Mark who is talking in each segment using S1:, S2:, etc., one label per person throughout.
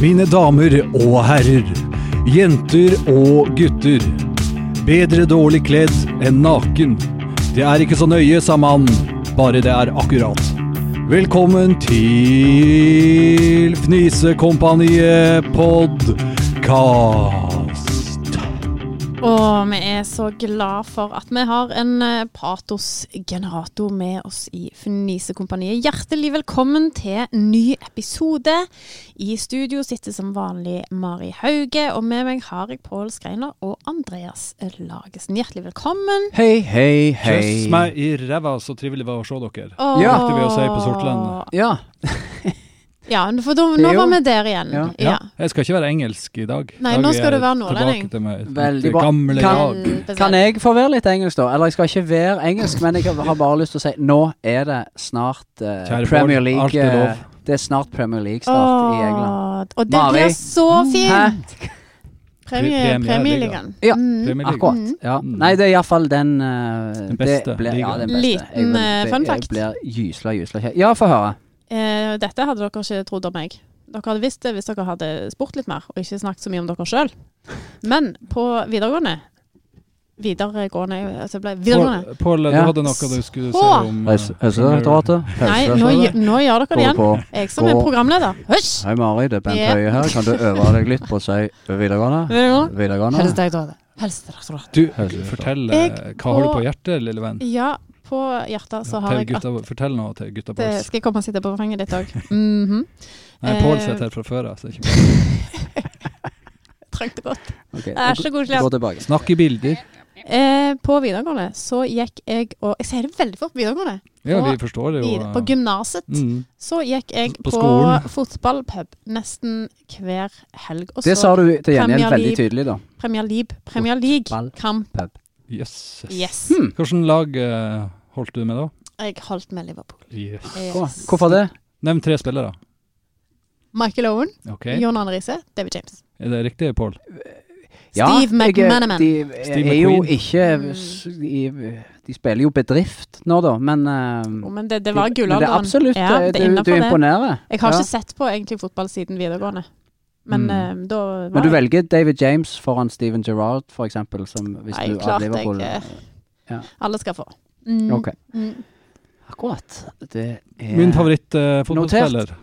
S1: Mine damer og herrer, jenter og gutter. Bedre dårlig kledd enn naken. Det er ikke så nøye, sa mannen, bare det er akkurat. Velkommen til Fnisekompaniet podkast.
S2: Og vi er så glad for at vi har en eh, patosgenerator med oss i Fnisekompaniet. Hjertelig velkommen til ny episode. I studio sitter som vanlig Mari Hauge, og med meg har jeg Pål Skreiner og Andreas Lagesen. Hjertelig velkommen.
S3: Hei, hei, hei.
S1: Kjøss meg i ræva, så trivelig det var å se dere.
S2: Åh.
S3: Ja.
S1: Likte vi å si på Sortland.
S3: Ja.
S2: Ja, for da, nå
S3: Jo.
S2: var vi der igjen.
S3: Ja.
S2: Ja.
S1: Jeg skal ikke være engelsk i dag. I
S2: Nei,
S1: dag
S2: nå skal
S1: er
S2: du være
S1: jeg
S2: nordlending.
S1: Tilbake til meg,
S3: Veldig bra.
S1: gamle
S3: Kan-
S1: jag.
S2: Mm,
S3: Kan jeg få være litt engelsk, da? Eller jeg skal ikke være engelsk, men jeg har bare lyst til å si nå er det snart eh,
S1: Kjære barn,
S3: Premier
S1: alt
S3: League
S1: er lov.
S3: eh, Det er snart Premier League-start i England.
S2: Åh, Og det
S3: Mari.
S2: blir så fint!
S3: Hæ?
S2: Premie-
S1: Premieligaen.
S2: Premieligaen.
S3: Ja.
S2: Mm.
S1: Premier League. Mm.
S3: Akkurat. Ja. Nei, det er iallfall den eh,
S1: Den beste
S3: det blir, ja,
S1: ligaen.
S3: den beste. Jeg
S2: Liten,
S3: vil-
S2: eh,
S3: det-
S2: fun fact.
S3: Jeg blir gysla, gysla kjekk. Ja, få høre.
S1: Mm.
S2: Eh, dette hadde dere ikke trodd om meg. Dere hadde visst det hvis dere hadde spurt litt mer, og ikke snakket så mye om dere sjøl. Men på videregående Videregående altså det ble videregående.
S1: Pål, Pål, du
S3: Ja.
S1: hadde noe du skulle si
S2: Hå!
S1: om eh,
S3: Helsedirektoratet.
S2: Nei, nå, gj- nå gjør dere det igjen. Jeg som er
S3: Gå.
S2: programleder. Hysj!
S3: Hei, Mari. Det er Bent
S2: Ja.
S3: Høie her. Kan du øve deg litt på å si videregående?
S2: Videregående.
S3: Videregående.
S2: Helsedirektoratet. Helsedirektoratet.
S1: Du, fortell eh,
S2: Jeg
S1: Hva har du
S2: og-
S1: på hjertet, lille venn?
S2: Ja, på hjertet så har
S1: Til
S2: jeg at
S1: gutta, fortell noe til gutta
S2: det
S1: boys.
S2: Skal jeg komme og sitte på fanget ditt òg? Mhm.
S1: Nei, Pål
S2: eh,
S1: sitter her fra før av. så det er ikke-
S2: Trengte godt.
S3: Ok,
S2: Det er så koselig.
S3: Gå tilbake.
S1: Snakk i bilder.
S2: Eh, på videregående så gikk jeg og Jeg sier det veldig fort på videregående.
S1: Ja,
S2: På
S1: vi forstår det jo.
S2: Vid- På gymnaset.
S1: Mm.
S2: Så gikk jeg
S1: På
S2: på,
S1: skolen.
S2: fotballpub nesten hver helg. Og
S3: Det
S2: så
S3: sa du til gjengjeld
S2: Premier
S3: veldig
S2: League.
S3: tydelig, da.
S2: Premier League. Premier League-kamp.
S1: Jøsses.
S2: Yes.
S3: Hmm.
S1: Hvilket lag eh, holdt du med da?
S2: Jeg holdt med Liverpool.
S1: Yes.
S3: Å,
S2: Yes.
S3: Hvorfor det?
S1: Nevn tre spillere.
S2: Michael Owen,
S1: Ok,
S2: John Arne Riise, David James.
S1: Er det riktig, Pål?
S2: Steve
S3: jeg-
S2: McManaman.
S3: De
S1: Steve
S3: er jo
S1: McQueen.
S3: ikke
S2: Mm.
S3: s- de, de spiller jo bedrift nå, da, men
S2: Oh,
S3: eh,
S2: men det, det var
S3: men det er
S2: gullalderen.
S3: absolutt
S2: Ja, det er
S3: eh, du, du
S2: innenfor det.
S3: imponerer.
S2: Jeg har
S3: Ja.
S2: ikke sett på egentlig fotball siden videregående. Men
S1: Mm.
S2: eh, da var
S3: Men du
S2: jeg-
S3: velger David James foran Steven Gerrard, for eksempel, som hvis
S2: Nei,
S3: du
S2: klart
S3: er Liverpool.
S2: jeg, eh,
S3: Ja.
S2: Alle skal få. Mm.
S3: Ok.
S2: Mm.
S3: Akkurat. Det er
S1: Min favorittfotballspiller.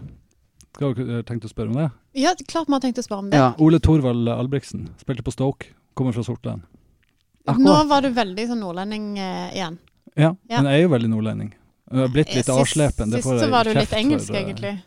S1: Skal dere eh, tenkt å spørre om det?
S2: Ja, klart vi har tenkt å spørre om det.
S3: Ja,
S1: Ole Torvald Albrigtsen. Spilte på Stoke. Kommer fra Sortland.
S2: Nå
S3: akkurat.
S2: var du veldig sånn nordlending eh, igjen.
S1: Ja,
S2: Ja. Eh,
S1: men jeg er jo veldig nordlending. Jeg har blitt litt
S2: Sist-
S1: avslepen. det får
S2: Sist så
S1: jeg
S2: var du
S1: kjeft
S2: litt
S1: for,
S2: engelsk,
S1: eh.
S2: egentlig.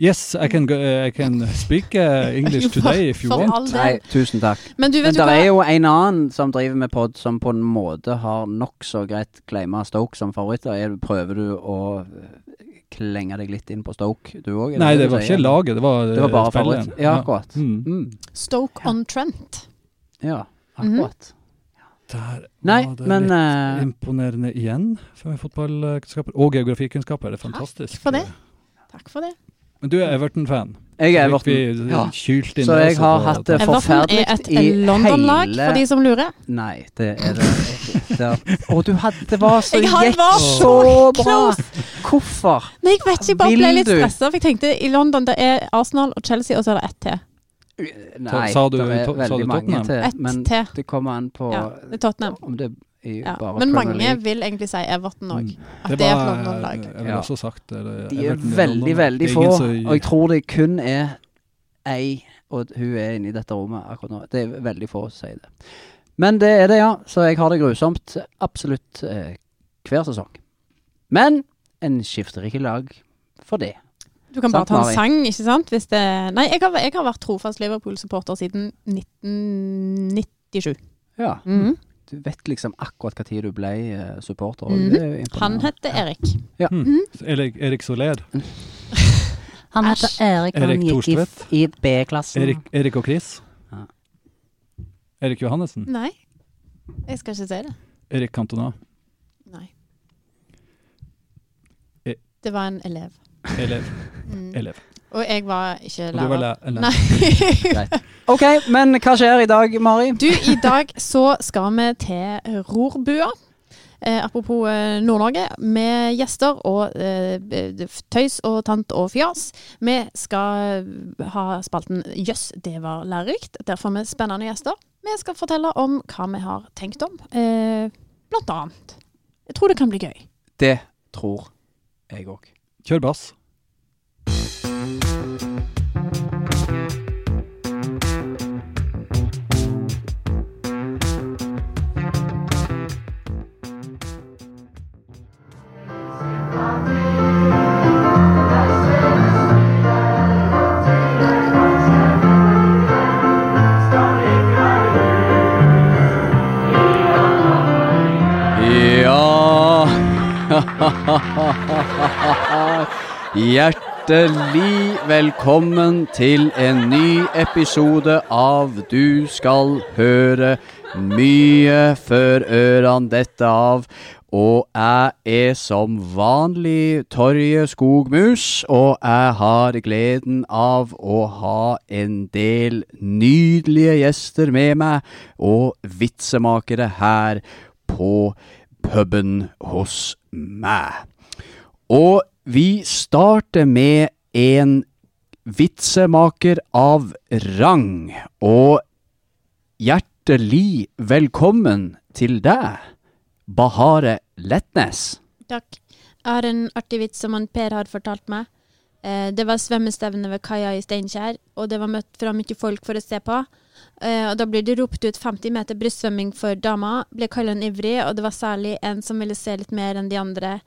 S1: Yes, I can, go, uh, I can speak uh, English
S2: For-
S1: today if you
S2: for
S1: want.
S2: all del.
S3: Nei, tusen takk.
S2: Men du,
S3: Men
S2: vet du
S3: det
S2: hva?
S3: er jo en annen som driver med pod som på en måte har nokså greit claima Stoke som favoritter. Er, prøver du å eh, klenge deg litt inn på Stoke, du òg?
S1: Nei, det var ikke laget, det var,
S3: Det var
S1: eh,
S3: bare
S1: spilleren.
S3: favoritt. Ja, akkurat.
S1: Mm.
S3: Mm.
S2: Stoke on Trent. Mhm.
S3: Ja, akkurat.
S1: Der
S3: Nei,
S1: var det
S3: men
S1: litt
S3: eh,
S1: imponerende igjen for meg fotballkunnskaper. Og geografikunnskaper. Det er fantastisk.
S2: for det. Takk for det.
S1: Men du er Everton-fan.
S3: jeg er
S1: Så fikk
S3: Everton.
S1: vi
S3: Ja.
S1: kylt inn
S3: Så
S1: det
S3: jeg
S1: også
S3: har
S1: på-
S3: hatt det for-
S2: Everton
S3: Forferdelig
S2: er et
S3: i
S2: London-lag,
S3: hele-
S2: for de som lurer.
S3: Nei, det er det. Der. Å, du hadde Det var så
S2: Jeg har-
S3: gikk
S2: var
S3: så bra!
S2: close.
S3: Hvorfor?
S2: Nei, jeg vet ikke, jeg bare
S3: Vil
S2: ble litt
S3: du?
S2: stressa. For jeg tenkte i London det er Arsenal og Chelsea, og så er det ett til.
S3: Nei,
S1: sa du-
S3: det er
S1: to- sa du
S3: veldig mange
S1: Tottenham?
S3: til. Men
S2: Ett til.
S3: det kommer an på
S2: Ja, det er Tottenham.
S3: om det er
S2: Ja.
S3: bare
S2: Men
S3: Premier
S2: mange
S3: League.
S2: vil egentlig si Everton òg.
S1: Mm.
S2: At det er et
S1: var-
S2: London-lag.
S1: Jeg ville
S3: Ja.
S1: også sagt det. det-
S3: De er
S1: Everton
S3: veldig,
S1: London-lag.
S3: veldig
S1: Det er
S3: få,
S1: ingen
S3: og jeg
S1: som-
S3: tror det kun er ei, og hun er inne i dette rommet akkurat nå. Det er veldig få som sier det. Men det er det, ja. Så jeg har det grusomt absolutt eh, hver sesong. Men en skifter ikke lag for det.
S2: Du kan bare
S3: Sant,
S2: ta en
S3: Mari?
S2: sang, ikke sant? Hvis det Nei, jeg har, jeg har vært trofast Liverpool-supporter siden 1997.
S3: Ja.
S2: Mhm.
S3: Du vet liksom akkurat når du ble eh, supporter. og
S2: Mhm.
S3: det er jo
S2: Han
S3: imponerende.
S2: heter Erik.
S1: Erik, Erik Soler.
S4: Han heter
S2: Æsj.
S4: Erik, og
S1: Erik
S4: han gikk i,
S1: Thorstvedt.
S4: i B-klassen.
S1: Erik, Erik og Chris.
S3: Ja.
S1: Erik Johannessen.
S2: Nei, jeg skal ikke si det.
S1: Erik Cantona.
S2: Nei.
S1: Eh.
S2: Det var en elev.
S1: Elev.
S2: Mm.
S1: Elev.
S2: Og jeg var ikke
S1: Og du var læ-
S2: lærer.
S1: lærer.
S2: Nei.
S3: OK, men hva skjer i dag, Mari?
S2: Du, i dag så skal vi til rorbua. eh, apropos eh, Nord-Norge, med gjester og eh, b- d- tøys og tant og fjas. Vi skal eh, ha spalten Jøss, det var lærerikt. Der får vi spennende gjester. Vi skal fortelle om hva vi har tenkt om, eh, blant annet. Jeg tror det kan bli gøy.
S3: Det tror jeg òg.
S1: Kjør bass.
S3: Ja Hjertelig velkommen til en ny episode av Du skal høre mye før ørene detter av. Og jeg er som vanlig Torje Skogmus, og jeg har gleden av å ha en del nydelige gjester med meg, og vitsemakere her på puben hos meg. Og vi starter med en vitsemaker av rang. Og hjertelig velkommen til deg, Bahare Letnes.
S2: Takk. Jeg har en artig vits som han Per har fortalt meg. Eh, det var svømmestevne ved kaia i Steinkjer, og det var møtt fra mye folk for å se på. Eh, og da blir det ropt ut 50 meter brystsvømming for dama, ble kallen ivrig, og det var særlig en som ville se litt mer enn de andre.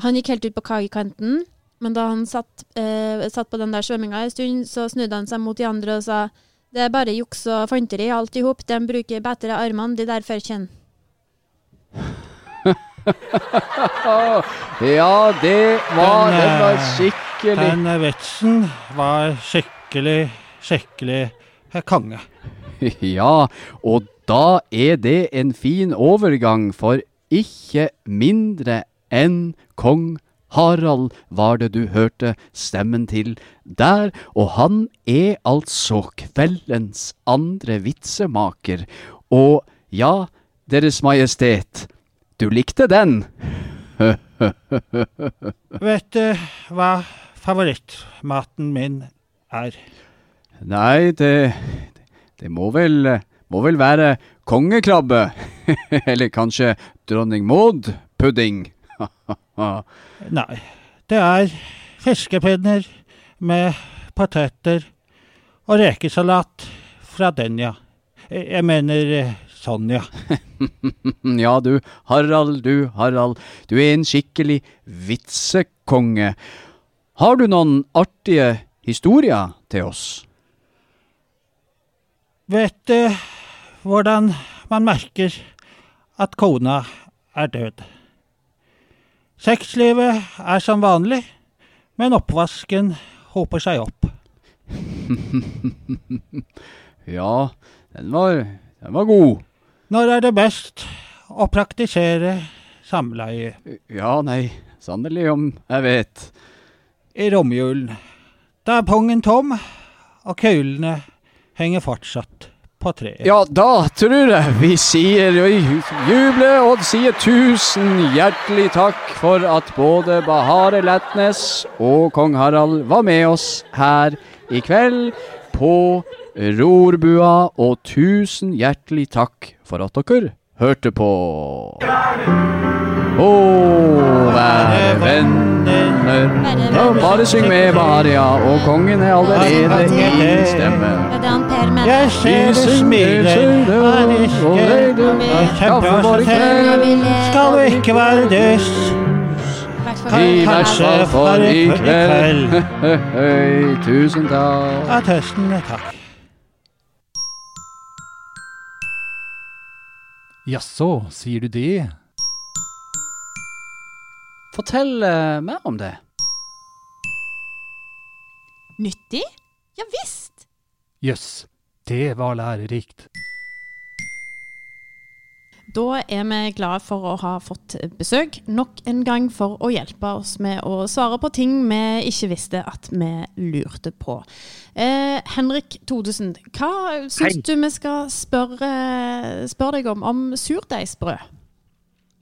S2: Han gikk helt ut på kaiekanten, men da han satt, eh, satt på den der svømminga en stund, så snudde han seg mot de andre og sa det er bare juks og fanteri alt i hop, de bruker bedre armene, de der førkjenn.
S3: Ja, det var,
S5: Den,
S3: det var
S5: eh,
S3: skikkelig
S5: Den vitsen var skikkelig, skikkelig eh, konge.
S3: Ja, og da er det en fin overgang, for ikke mindre enn kong Harald var det du hørte stemmen til der, og han er altså kveldens andre vitsemaker. Og ja, Deres Majestet, du likte den?
S5: Vet du hva favorittmaten min er?
S3: Nei, det, det må, vel, må vel være kongekrabbe. Eller kanskje dronning Maud-pudding.
S5: Nei, det er fiskepinner med poteter og rekesalat fra Denja. Jeg jeg mener eh, Sonja.
S3: Ja, du Harald, du Harald. Du er en skikkelig vitsekonge. Har du noen artige historier til oss?
S5: Vet du hvordan man merker at kona er død? Sexlivet er som vanlig, men oppvasken hoper seg opp.
S3: Ja, den var, den var god.
S5: Når er det best å praktisere samleie?
S3: Ja, nei, sannelig om jeg vet.
S5: I romjulen. Da er pongen tom, og køylene henger fortsatt på treet.
S3: Ja, da tror jeg vi sier vi jubler og sier tusen hjertelig takk for at både Bahare Letnes og kong Harald var med oss her i kveld på Rorbua, og tusen hjertelig takk for at dere hørte på. Å være venner Ja, Bare syng med Baharia, og kongen er allerede i stemme.
S2: Det er det han Per mener.
S5: Jeg ser du smiler og rister og kjemper for selv. Skal du ikke være dust?
S3: I
S5: Kan-
S3: hvert fall altså for i kveld. Høy, tusen takk.
S5: Av tøsten, takk.
S1: Jaså, sier du det?
S3: Fortell eh, mer om det.
S2: Nyttig? Ja visst!
S1: Jøss, det var lærerikt.
S2: Da er vi glad for å ha fått besøk nok en gang for å hjelpe oss med å svare på ting vi ikke visste at vi lurte på. Eh, Henrik Todesen, hva syns du vi skal spørre, spørre deg om om surdeigsbrød?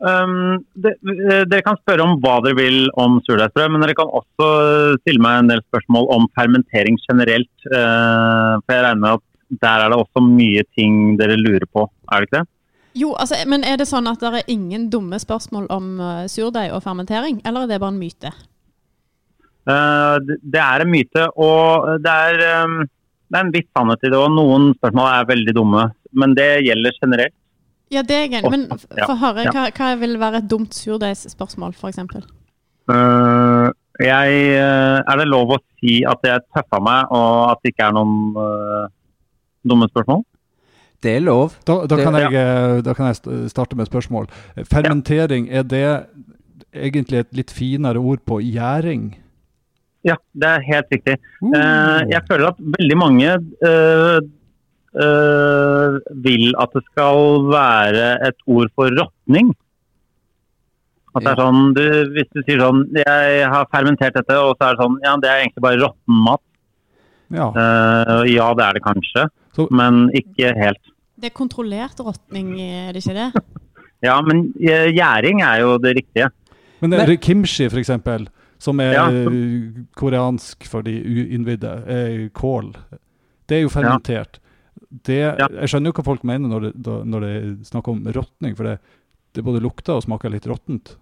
S6: Um, det, eh, dere kan spørre om hva dere vil om surdeigsbrød, men dere kan også eh, stille meg en del spørsmål om fermentering generelt. eh, for jeg regner med at der er det også mye ting dere lurer på, er det ikke det?
S2: Jo, altså, men er det sånn at det er ingen dumme spørsmål om eh, surdeig og fermentering, eller er det bare en myte?
S6: Eh, det- det er en myte, og det er, eh, det er en viss sannhet i det. Og noen spørsmål er veldig dumme, men det gjelder generelt.
S2: Ja, det er jeg enig i, men f-
S6: Ja,
S2: få høre.
S6: ja.
S2: Hva, hva vil være et dumt surdeigsspørsmål, f.eks.?
S6: Eh, jeg, eh, er det lov å si at jeg tøffa meg, og at det ikke er noen eh, dumme spørsmål?
S3: Det er lov.
S7: Da, da,
S3: Det-
S7: kan jeg, eh, da kan jeg st- starte med et spørsmål. Eh, Fermentering, er det egentlig et litt finere ord på gjæring?
S6: Ja, det er helt riktig. Eh, jeg føler at veldig mange eh, eh, vil at det skal være et ord for råtning. At det er sånn, du, Hvis du sier sånn 'Jeg har fermentert dette', og så er det sånn Ja, det er egentlig bare råtten mat.
S7: Ja.
S6: Eh, ja, det er det kanskje,
S7: Så-
S6: men ikke helt.
S2: Det er kontrollert råtning,
S6: Mm.
S2: er det ikke det?
S6: Ja, men eh, gjæring er jo det riktige.
S7: Men er det kimchi, for eksempel, som er
S6: Ja.
S7: eh, koreansk for de uinnvidde, eh, kål, det er jo fermentert. Det,
S6: Ja.
S7: jeg skjønner jo hva folk mener når det, da, når det er snakk om råtning, for det, det både lukter og smaker litt råttent.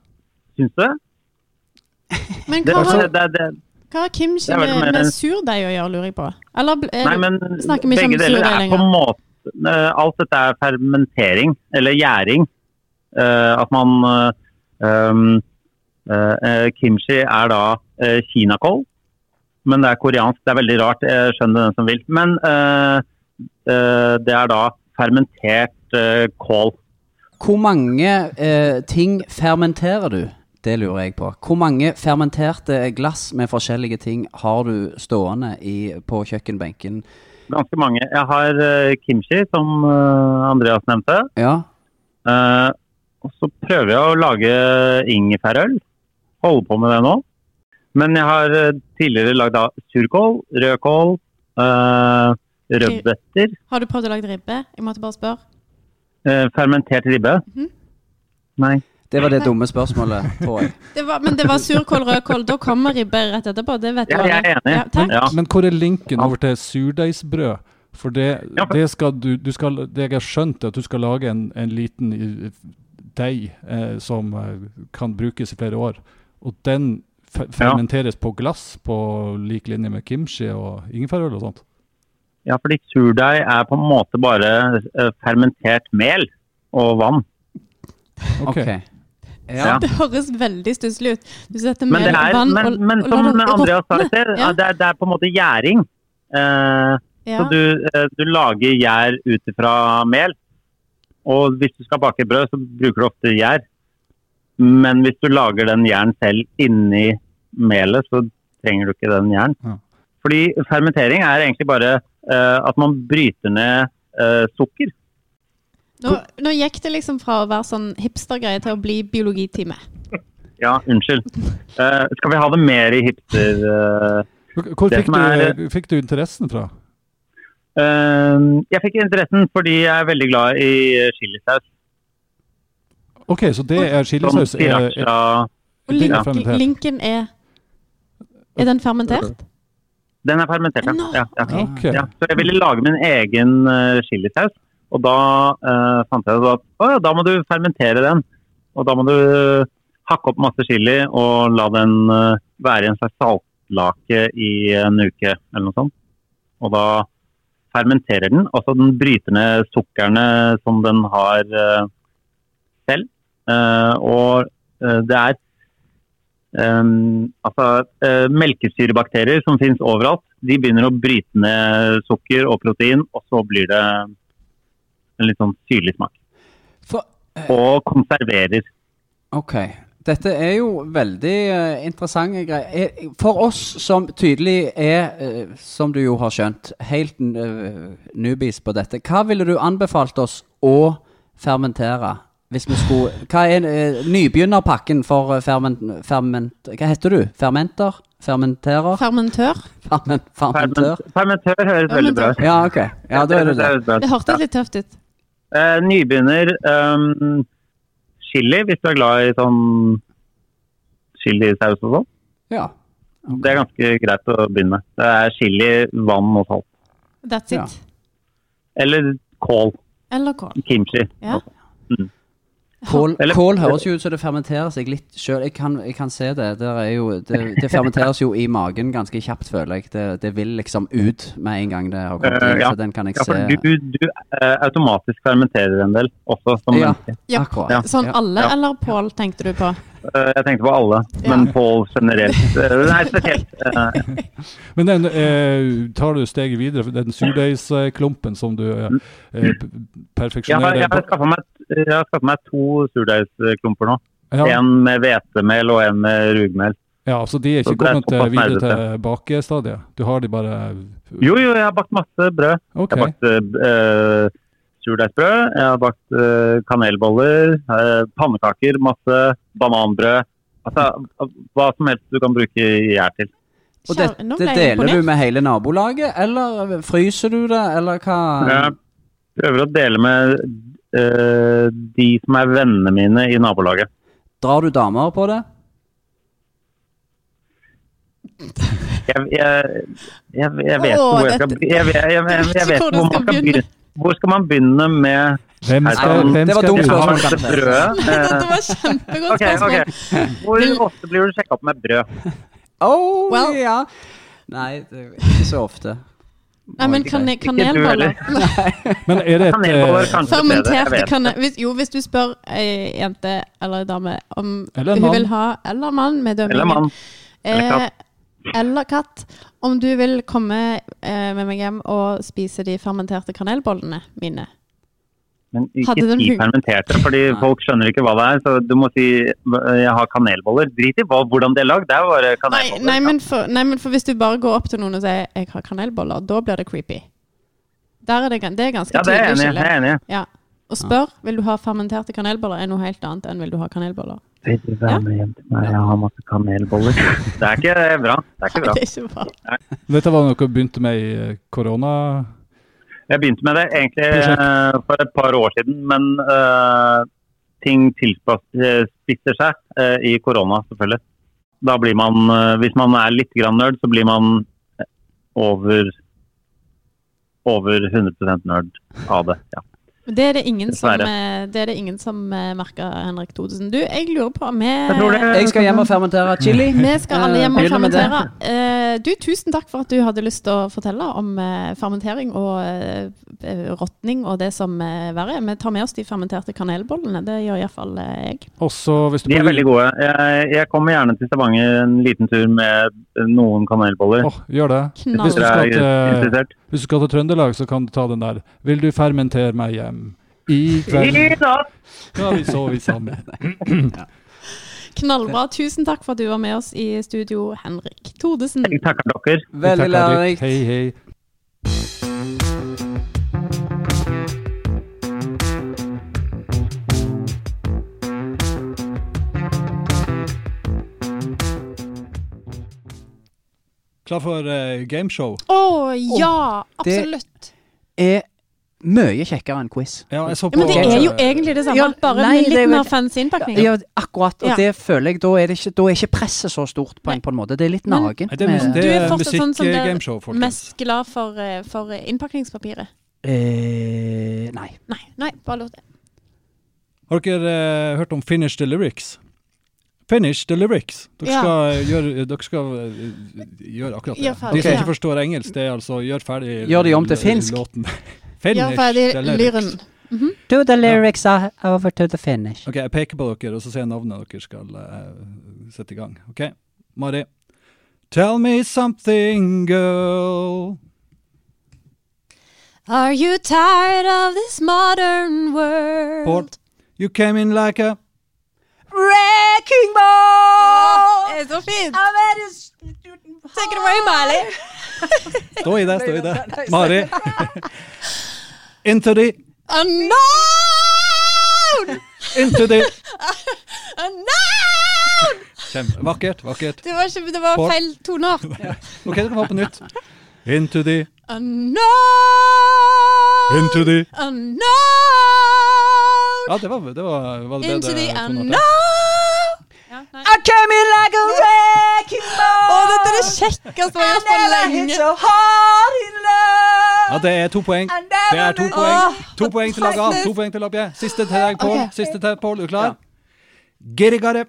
S6: Syns du det?
S2: Men
S6: Det,
S2: hva har,
S6: det, det, det
S2: hva har kimchi
S6: altså- det er vel
S2: med,
S6: mer-
S2: med surdeig å gjøre, lurer jeg på? Eller bl- er
S6: Nei,
S2: det-
S6: men
S2: snakker vi ikke om
S6: begge deler
S2: surdeig
S6: er på en måte eh, Alt dette er fermentering, eller gjæring. Eh, at man eh, um, eh, eh, Kimchi er da eh, kinakål, men det er koreansk. Det er veldig rart. Jeg skjønner den som vil. Men eh, eh, det er da fermentert eh, kål.
S3: Hvor mange eh, ting fermenterer du? Det lurer jeg på. Hvor mange fermenterte glass med forskjellige ting har du stående i, på kjøkkenbenken?
S6: Ganske mange. Jeg har eh, kimchi, som eh, Andreas nevnte.
S3: Ja,
S6: Eh, og så prøver jeg å lage ingefærøl. Holder på med det nå. Men jeg har eh, tidligere lagd da surkål, rødkål, eh, rødbeter,
S2: Har du prøvd å lage ribbe? Jeg måtte bare spørre.
S6: eh, fermentert ribbe.
S2: Mhm.
S6: Nei.
S3: det var det dumme spørsmålet, tror jeg.
S2: Det var, men det var surkål, rødkål. Da kommer ribbe rett etterpå. Det vet
S6: Ja,
S2: du
S6: jeg
S2: alle.
S6: er enig.
S2: Ja, takk.
S6: Ja.
S7: Men hvor er linken over til surdeigsbrød? For det,
S6: Ah. Ja, for-
S7: det skal du, du skal, det jeg har skjønt, er at du skal lage en, en liten eh, deig eh, som eh, kan brukes i flere år. Og den fe- fermenteres på glass på lik linje med kimchi og ingefærøl og sånt.
S6: ja, fordi surdeig er på en måte bare eh, fermentert mel og vann.
S7: Ok.
S3: Ok.
S6: Ja.
S3: Ja.
S2: Det høres veldig stusslig ut. Du setter mel
S6: Men, det
S2: og
S6: er,
S2: vann
S6: men,
S2: og,
S6: men
S2: og lar
S6: som
S2: det
S6: Andreas sa i
S2: råtne.
S6: sted,
S2: Ja.
S6: det, er- det er på en måte gjæring. Eh,
S2: Ja.
S6: Så du, eh, du lager gjær ut fra mel. Og hvis du skal bake brød, så bruker du ofte gjær. Men hvis du lager den gjæren selv inni melet, så trenger du ikke den gjæren.
S7: Ja.
S6: Fordi fermentering er egentlig bare eh, at man bryter ned eh, sukker.
S2: Nå, nå gikk det liksom fra å være sånn hipstergreie til å bli biologitime.
S6: Ja, unnskyld. Eh, skal vi ha det mer i hipster... eh,
S7: Hvor
S6: Det
S7: fikk
S6: som
S7: du,
S6: er-
S7: eh, fikk du interessen fra?
S6: eh, jeg fikk interessen fordi jeg er veldig glad i eh, chilisaus.
S7: OK, så det er eh,
S6: Som
S7: chilisaus. Er, er,
S6: sriracha.
S2: Og
S7: Den
S2: link,
S7: er fermentert.
S2: linken er Er den fermentert?
S6: Den er fermentert, ja.
S2: Nå,
S6: ja, ja.
S7: ok.
S6: ja. Så jeg ville lage min egen eh, chilisaus, og da eh, fant jeg ut at å, ja, da må du fermentere den. Og da må du eh, hakke opp masse chili og la den eh, være i en slags saltlake i en uke eller noe sånt. Og da fermenterer den, altså den bryter ned sukkerne som den har eh, selv. Eh, og eh, det er Ehm, altså, eh, melkesyrebakterier som finnes overalt, de begynner å bryte ned sukker og protein, og så blir det en litt sånn syrlig smak.
S3: For,
S6: Og konserverer.
S3: Ok. Dette er jo veldig eh, interessante greier. Eh, For oss som tydelig er, eh, som du jo har skjønt, helt uh, newbies på dette, hva ville du anbefalt oss å fermentere? Hvis vi skulle, hva er eh, nybegynnerpakken for eh, ferment, ferment... Hva heter du? Fermenter? Fermenterer?
S2: Fermentør?
S3: Fermen, fermentør?
S6: Ferment, fermentør høres veldig bra ut.
S3: Ja, ok. Ja, da er det det.
S6: høres bra ut.
S2: Det hørtes litt tøft ut.
S6: Eh, nybegynner Eh, ehm, chili, hvis du er glad i sånn chilisaus og sånn.
S3: Ja.
S6: Det er ganske greit å begynne med. Det er chili, vann og salt.
S2: That's it.
S3: Ja.
S6: Eller kål.
S2: Eller kål.
S6: Kimchi.
S2: Ja.
S3: Kål,
S6: Eller-
S3: kål høres jo ut som det fermenterer seg litt sjøl. Jeg, kan- jeg kan se det. Det, er jo, det. det fermenteres jo i magen ganske kjapt, føler jeg. Det, det vil liksom ut med en gang det har kommet
S6: Eh,
S3: inn.
S6: ja.
S3: Så den kan jeg
S6: Ja, for
S3: se.
S6: du, du eh, automatisk fermenterer en del, også som
S3: Ja.
S6: menneske.
S2: Ja.
S3: Akkurat.
S6: Ja.
S2: Sånn
S3: Ja.
S2: alle eller Pål, tenkte du på?
S6: Eh, Jeg tenkte på alle, men Pål generelt. eh, Nei, spesielt. eh,
S7: Men den, eh, tar du steget videre, for den surdeigsklumpen som du eh, eh, p-
S6: Jeg har,
S7: perfeksjonerer
S6: Mm. jeg har skaffa meg, jeg har skaffet meg to surdeigsklumper nå.
S7: ja,
S6: En med hvetemel og en med rugmel.
S7: ja, så de er
S6: Så
S7: ikke
S6: det er
S7: kommet eh,
S6: såpass
S7: videre
S6: nerdete.
S7: til bakestadiet? Du har de bare eh,
S6: Jo, jo, jeg har bakt masse brød.
S7: OK.
S6: Jeg har bakt eh, surdeigsbrød, jeg har bakt eh, kanelboller, eh, pannekaker, masse bananbrød. Altså, hva som helst du kan bruke gjær til.
S3: Og
S2: Kjære-
S3: dette
S2: nå ble jeg
S3: deler du
S2: imponert.
S3: med hele nabolaget, eller fryser du det, eller hva?
S6: Jeg prøver å dele med eh, de som er vennene mine i nabolaget.
S3: Drar du damer på det?
S6: Jeg, jeg, jeg, jeg vet
S2: Åh,
S6: hvor jeg skal
S2: dette-
S6: jeg, jeg, jeg, jeg, jeg
S2: Ikke
S6: vet
S2: hvor du
S6: hvor man
S2: skal
S6: skal
S2: begynne.
S6: begynne. Hvor skal man begynne med
S7: Hvem
S6: Nei,
S7: skal,
S6: det-
S7: hvem
S3: det var
S7: skal
S3: dumt
S7: dit?
S6: det
S3: spørsmål.
S6: første brødet? Eh,
S2: Dette var et kjempegodt
S6: Ok,
S2: spørsmål.
S6: ok. Hvor ofte blir du sjekka opp med brød?
S3: Oh,
S2: Well.
S3: ja. Nei, det er ikke så ofte.
S2: Nei, men
S3: Ikke
S2: kane
S3: greit.
S2: kanelboller
S7: Men er det et
S6: Kanelboller
S7: eh,
S6: kanskje bedre, jeg
S2: Fermenterte
S6: vet ikke.
S2: kanel... Hvis, jo, hvis du spør ei jente eller ei dame om
S7: Eller en
S2: hun
S7: mann.
S2: vil ha Eller mann med dømmingen.
S6: Eller mann. Eller katt.
S2: Eh, eller katt. Om du vil komme eh, med meg hjem og spise de fermenterte kanelbollene mine.
S6: Men
S2: Hadde
S6: ikke
S2: de
S6: si
S2: hugg-
S6: fermenterte, fordi folk skjønner ikke hva det er. Så du må si eh, jeg har kanelboller. Drit i hva, hvordan de er lagd, det er
S2: Nei,
S6: bare kanelboller. liksom.
S2: nei, men for, nei, men for hvis du bare går opp til noen og sier 'jeg har kanelboller', da blir det creepy. Der er det, gan- det er ganske
S6: ja, det er jeg
S2: tydelig
S6: enig i.
S2: skille.
S6: Jeg er enig. i.
S2: Ja. Og spør vil du ha fermenterte kanelboller, er noe helt annet enn vil du ha kanelboller.
S6: Vil du være med hjem til meg? Jeg har masse kanelboller. Det er ikke eh, bra. Det er ikke bra.
S2: Det er ikke bra.
S7: Dette var noe du begynte med i eh, korona...
S6: Jeg begynte med det egentlig
S7: Prosjekt.
S6: eh, for et par år siden, men eh, ting tilspisser seg eh, i korona, selvfølgelig. Da blir man, eh, hvis man er litt grann nerd, så blir man eh, over, over 100 nerd av det. Ja.
S2: Men Det er det ingen som,
S6: Dessverre.
S2: eh, det er det ingen som eh, merker, Henrik Thodesen. Du, jeg lurer på om eh,
S6: Jeg tror
S2: vi
S6: det.
S3: Jeg skal hjem og fermentere chili.
S2: vi skal alle hjem og
S3: Eh, begynner med det.
S2: fermentere. Eh, Du, tusen takk for at du hadde lyst til å fortelle om eh, fermentering og eh, eh, råtning og det som eh, verre er. Vi tar med oss de fermenterte kanelbollene. Det gjør iallfall eh, jeg.
S7: Og så hvis du
S6: De er veldig gode. Jeg, jeg kommer gjerne til Stavanger en liten tur med noen kanelboller.
S7: Åh, gjør det.
S6: Hvis
S2: Knall.
S7: det
S6: dere
S7: skal
S6: er
S7: til-
S6: interessert.
S7: Hvis du skal til Trøndelag, så kan du ta den der. Vil du fermentere meg hjem? I kveld
S6: I dag!
S7: skal vi sove sammen.
S2: Knallbra. Tusen takk for at du var med oss i studio, Henrik Thodesen.
S6: Jeg takker dere.
S3: Veldig lærerikt.
S7: Hei, hei.
S5: Klar for eh, gameshow?
S2: Å ja,
S3: det-
S2: absolutt.
S3: Er mye kjekkere enn quiz.
S5: Ja, jeg så
S2: Ja,
S5: på
S2: men det er jo egentlig det samme,
S3: Ja,
S2: bare
S3: nei,
S2: med
S3: det er
S2: litt
S3: jo-
S2: mer fancy innpakning.
S3: Ja, akkurat. Og
S2: Ja.
S3: det føler jeg, da er, det ikke, da er ikke presset så stort på en, på en måte. Det er litt
S2: Men-
S3: nagent.
S5: Nei, det er, mus-
S3: med-
S5: det
S2: Du er
S5: er
S2: fortsatt sånn
S7: eh,
S2: som det er
S5: musikk-gameshow, folkens.
S2: Mest glad for, eh, for eh, innpakningspapiret?
S3: eh, nei.
S2: Nei, nei, bare lurt det.
S5: Har dere eh, hørt om Finish the Lyrics? Finish the lyrics. Dere
S2: Ja.
S5: skal, gjøre, dere skal eh, gjøre akkurat det.
S2: Gjør ferdig,
S5: De som
S2: ja.
S5: ikke forstår engelsk, det er altså gjør ferdig
S3: Gjør de om til
S5: l-
S3: finsk?
S5: Låten.
S2: Gjør
S5: Finish
S2: ferdig
S5: the
S2: lyren.
S5: lyrics.
S4: Do the lyrics are over to the finish.
S5: Ok, jeg peker på dere, og så ser jeg navnet dere skal eh, sette i gang. Ok, Mari. Tell me something, girl.
S2: Are you tired of this modern world?
S5: Bård. You came in like a
S4: Wrecking ball!
S2: Det er så fint!
S4: Take it away, Miley.
S5: Stå i det, stå i det. Mari. Into the
S2: Unknown!
S5: Into the
S2: Unknown!
S5: Kjempe. Vakkert, vakkert.
S2: Det var, ikke, det var
S5: Bård.
S2: feil toneart.
S5: Ok, dere får på nytt. Into the
S2: Unknown!
S5: Into the
S2: Unknown!
S8: Ja, det var det, var, var det
S2: Into the
S8: bedre
S2: unknown.
S8: toneart.
S2: Ja, nei.
S5: I came in like a wrecking ball.
S2: Å, dette er det kjekkeste vi har gjort på lenge.
S5: so hard in love.
S1: Ja, det er to poeng.
S5: I never
S1: Det er to
S5: knew-
S1: poeng.
S2: Åh,
S1: To poeng til lag A, to poeng til lag B. Siste til deg, Pål.
S2: Ok.
S1: Siste til deg, Pål. Er du klar? Gerigare.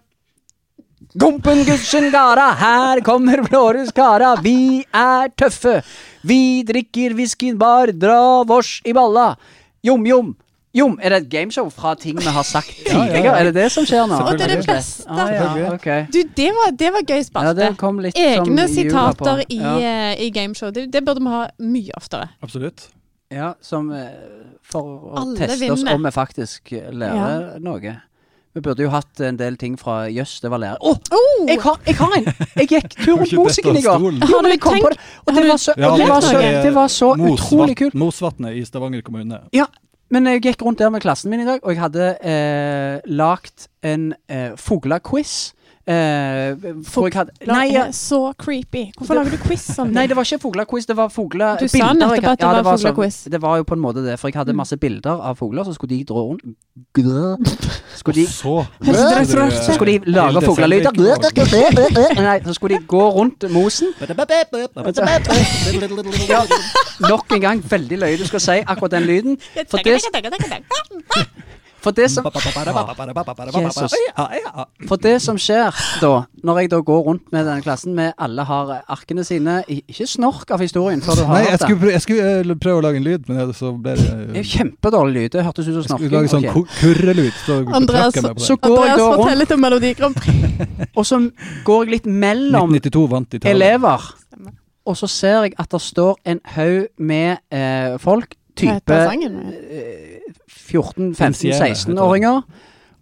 S3: Gompen gudsen gara, her kommer Blårus kara. Vi er tøffe. Vi drikker whiskyen bar, dra vårs i balla. Jom, jom. Jom, Er det et gameshow fra ting vi har sagt tidligere? Er det det som skjer nå?
S2: Og det er det beste.
S3: Ah, ja, ok.
S2: Du, det var, det var gøy
S3: Ja,
S2: spalte.
S3: det kom litt som
S2: Egne
S3: jula
S2: sitater
S3: på.
S2: i,
S3: ja.
S2: eh, i gameshow. Det, det burde vi ha mye oftere.
S1: Absolutt.
S3: ja, som eh, for å
S2: Alle
S3: teste oss
S2: vinner.
S3: om vi faktisk eh, lærer noe. Vi burde jo hatt en del ting fra Jøss, det var lærer. Å,
S2: Oh!
S3: jeg, har, jeg har en! Jeg gikk tur rundt
S1: ikke dette
S3: Mosingen i går.
S1: stolen?
S3: Jo, men jeg kom på det. Og det var så,
S1: Ja, sånn, eh,
S3: og det var
S1: dette
S3: så,
S1: er
S3: det var så
S1: Mosvatn-
S3: utrolig kult.
S1: Mosvatnet i Stavanger kommune.
S3: Ja, men jeg gikk rundt der med klassen min i dag, og jeg hadde eh, lagt en eh, fuglequiz. Eh, hvor jeg hadde, nei,
S2: Nei,
S3: ja,
S2: Så creepy. Hvorfor lager du quiz sånn?
S3: nei, det var ikke fuglequiz, det var fugle...
S2: Du sa
S3: bilder jeg
S2: nettopp
S3: hadde-
S2: at det
S3: ja,
S2: var
S3: sånn-
S2: fuglequiz. Mm.
S3: det var jo på en måte det, for jeg hadde masse bilder av fugler, så skulle de dra rundt. Skulle de...
S1: Så
S3: Så skulle de lage fuglelyder. Nei, så skulle de gå rundt mosen. Ja, nok en gang veldig løye du skal si akkurat den lyden. For det, for det som Jesus. For det som skjer da, når jeg da går rundt med denne klassen, med alle har eh, arkene sine i- Ikke snork av historien før du har
S1: Nei, jeg
S3: hørt
S1: skulle,
S3: det.
S1: prøve, jeg skulle eh, prøve å lage en lyd, men jeg- så ble
S3: Det er
S1: det
S3: jo kjempedårlig lyd. Det hørtes ut som
S1: Skulle
S3: snorking.
S1: lage sånn
S3: Ok.
S1: ku- kurrelyd. Så
S2: Andreas,
S1: trakk jeg meg på
S3: Så
S1: det.
S3: går jeg
S2: Andreas,
S3: da
S2: fortell
S3: rundt,
S2: litt om Melodi Grand Prix.
S3: og så går jeg litt mellom
S1: 1992 vant Italia.
S3: elever, og så ser jeg at det står en haug med eh, folk,
S2: Hva heter
S3: type
S2: sangen?
S3: 14-15-16-åringer.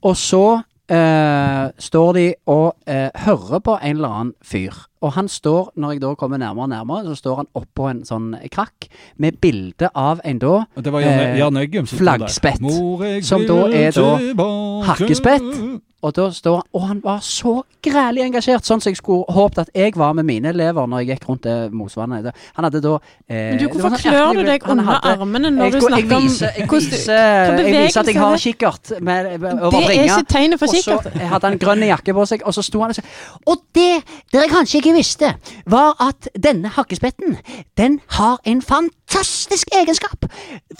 S3: Og så eh, står de og eh, hører på en eller annen fyr. Og han står, når jeg da kommer nærmere og nærmere, så står han oppå en sånn krakk med bilde av en da
S1: Og Det var Jan,
S3: eh,
S1: Jan Øggum som sto
S3: flaggspett,
S1: der. Mor, jeg
S3: som da
S1: vil
S3: er da
S1: tilbake.
S3: hakkespett. Og da står han, og han var så grælig engasjert, sånn som jeg skulle håpet at jeg var med mine elever når jeg gikk rundt eh, det mosvannet. Han hadde da eh,
S2: Men du,
S3: det var
S2: hvorfor
S3: sånn
S2: klør
S3: ertelig
S2: du
S3: blod.
S2: deg
S3: Han
S2: under
S3: hadde-
S2: armene når du
S3: jeg, jeg,
S2: snakker om
S3: viser, jeg,
S2: hvordan-
S3: viser,
S2: hva
S3: jeg viser at jeg har
S2: bevegelse
S3: kikkert med, med,
S2: Det
S3: over
S2: er
S3: bringa.
S2: ikke tegnet for
S3: Og så
S2: kikkert.
S3: hadde han grønn jakke på seg, og så sto han og sa Og det dere kanskje ikke visste, var at denne hakkespetten, den har en fantastisk egenskap.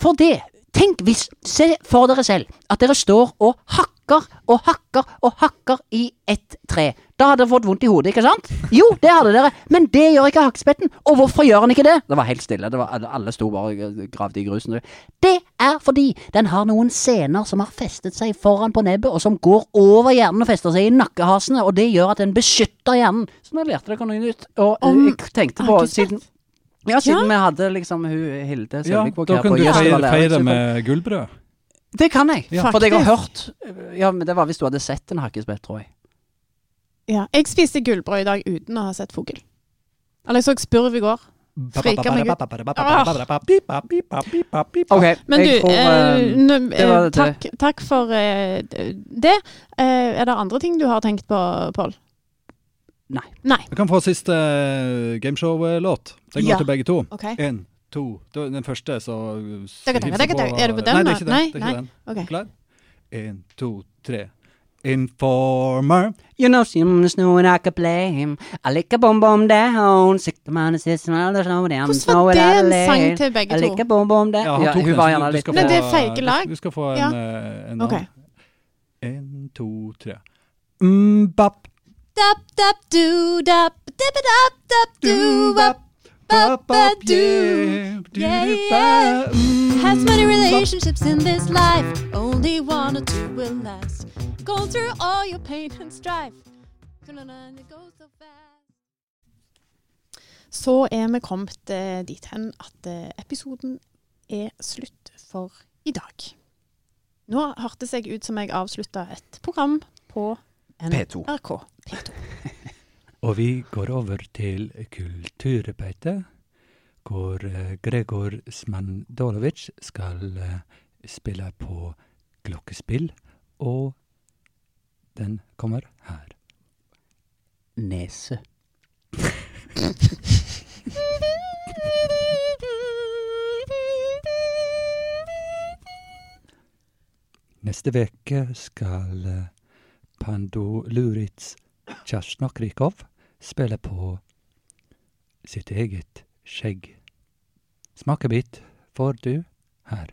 S3: For det, tenk hvis Se for dere selv at dere står og hakker og hakker og hakker i et tre. Da hadde dere fått vondt i hodet, ikke sant? Jo, det hadde dere, men det gjør ikke hakkespetten. Og hvorfor gjør han ikke det? Det var helt stille, det var, alle- alle sto bare og gravde i grusen. Det er fordi den har noen sener som har festet seg foran på nebbet, og som går over hjernen og fester seg i nakkehasene, og det gjør at den beskytter hjernen. Så nå lærte dere noe nytt. Og eh,
S2: Om
S3: jeg tenkte på,
S2: hakkespett?
S3: siden ja, siden vi hadde liksom hun Hilde
S1: Ja,
S3: Selvik
S1: da
S3: her
S1: kan
S3: på
S1: du
S3: Jøss, det
S1: feire,
S3: var lærer,
S1: feire
S3: så-
S1: med gullbrød.
S3: Det kan jeg,
S1: Ja.
S3: for det jeg har hørt Ja, men det var hvis du hadde sett en hakkespett, tror jeg.
S2: Ja, jeg spiste gullbrød i dag uten å ha sett fugl. Eller jeg så spurv i går. Frika meg ut.
S3: Ok,
S2: Men du,
S3: jeg tror
S2: eh,
S3: eh,
S2: nå-
S3: det
S2: eh,
S3: var det.
S2: takk, takk for eh, det. Eh, er det andre ting du har tenkt på, Pål?
S3: Nei.
S2: Nei.
S1: Vi kan få siste gameshow-låt. Den går
S2: Ja.
S1: til begge to.
S2: OK.
S1: Én, to Da- Den første, så så
S2: Takk, takk,
S1: hilser
S2: takk,
S1: på-
S2: takk. Er det på den,
S1: Nei, det
S2: da?
S1: er ikke den.
S2: Nei,
S1: det er
S2: nei.
S1: ikke den.
S2: ok.
S1: Klar? Én, to, tre. Informer.
S5: You know, seems no one I could blame. I lick a bomb bomb down. Sick the man is this and there's no damn
S2: Hvordan var det en sang til begge
S5: I
S2: to?
S5: lick a bomb bomb down.
S1: Ja, han
S3: Ja,
S1: tok
S3: hun
S1: den,
S3: var
S1: så
S3: gjerne
S1: du- du
S3: litt-
S1: skal
S2: Men
S1: få-
S2: det er feike lag.
S1: Du, du skal få en,
S2: Ja.
S1: eh, en
S2: Ok.
S1: annen. En, to, tre. Mm, Mbapp.
S2: Dap, dap, do, dap, dap, dap, dap, do, wap. Ba-ba-do. Yeah, yeah. Has many
S1: Mm,
S2: relationships in this life, only one or two will last. Go through all your pain and strife. Så er vi kommet eh, dit hen at eh, episoden er slutt for i dag. Nå hørtes jeg ut som jeg avslutta et program på
S3: P2.
S2: NRK.
S9: Og vi går over til kulturarbeidet, hvor eh, Gregor Smandolovic skal eh, spille på klokkespill, og den kommer her.
S3: Nese.
S1: Nese.
S9: Neste veke skal eh, Pando Luritz Kjersna Krikov spille på sitt eget skjegg. Smakebit får du her.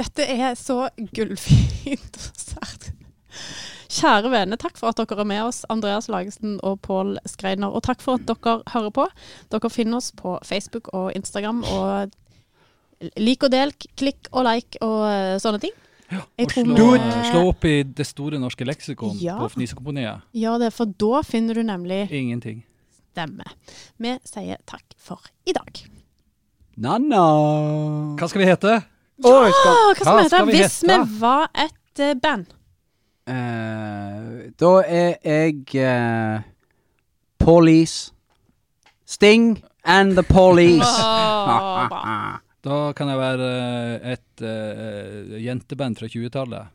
S2: Dette er så gullfint og sært. Kjære venner, takk for at dere er med oss, Andreas Lagesen og Pål Skreiner. Og takk for at dere hører på. Dere finner oss på Facebook og Instagram. Og lik og del, klikk og like og eh, sånne ting. Jeg
S1: Og
S2: tror
S1: slå,
S2: vi-
S1: slå opp i Det store norske leksikon
S2: Ja.
S1: på Fnisekomponiet.
S2: Gjør det, for da finner du nemlig
S1: Ingenting.
S2: stemme. Vi sier takk for i dag.
S3: Nanna!
S1: Hva skal vi hete?
S3: Oi, skal-
S2: Å, hva som
S1: hva
S2: heter
S1: skal vi
S2: det hvis vi
S1: hete?
S2: var et eh, band?
S3: Eh, da er jeg eh, Police. Sting and the Police.
S2: Åh, bra.
S1: Da kan jeg være eh, et eh, jenteband fra 20-tallet.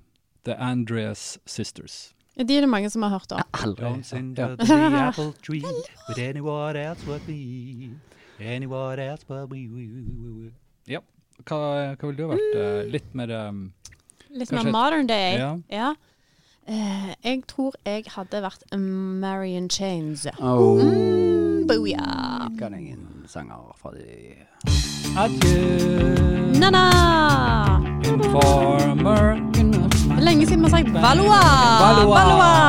S1: The Andreas Sisters.
S2: De er det mange som har hørt om.
S3: Aldri.
S9: Don't send up the apple tree with anyone else but me. Anyone else but me.
S1: Hva, hva ville du ha vært? eh, Litt mer eh,
S2: Litt
S1: Kanskje
S2: mer
S1: et-
S2: modern day.
S1: Ja.
S2: Ja. Eh, jeg tror jeg hadde vært Marion Chains.
S3: Oh,
S2: Mm, Booyah!
S3: kan ingen sanger fra de
S1: Adjø,
S2: Nana!
S1: informer.
S2: Lenge siden vi har sagt Valois!
S1: Valois!
S2: Valois!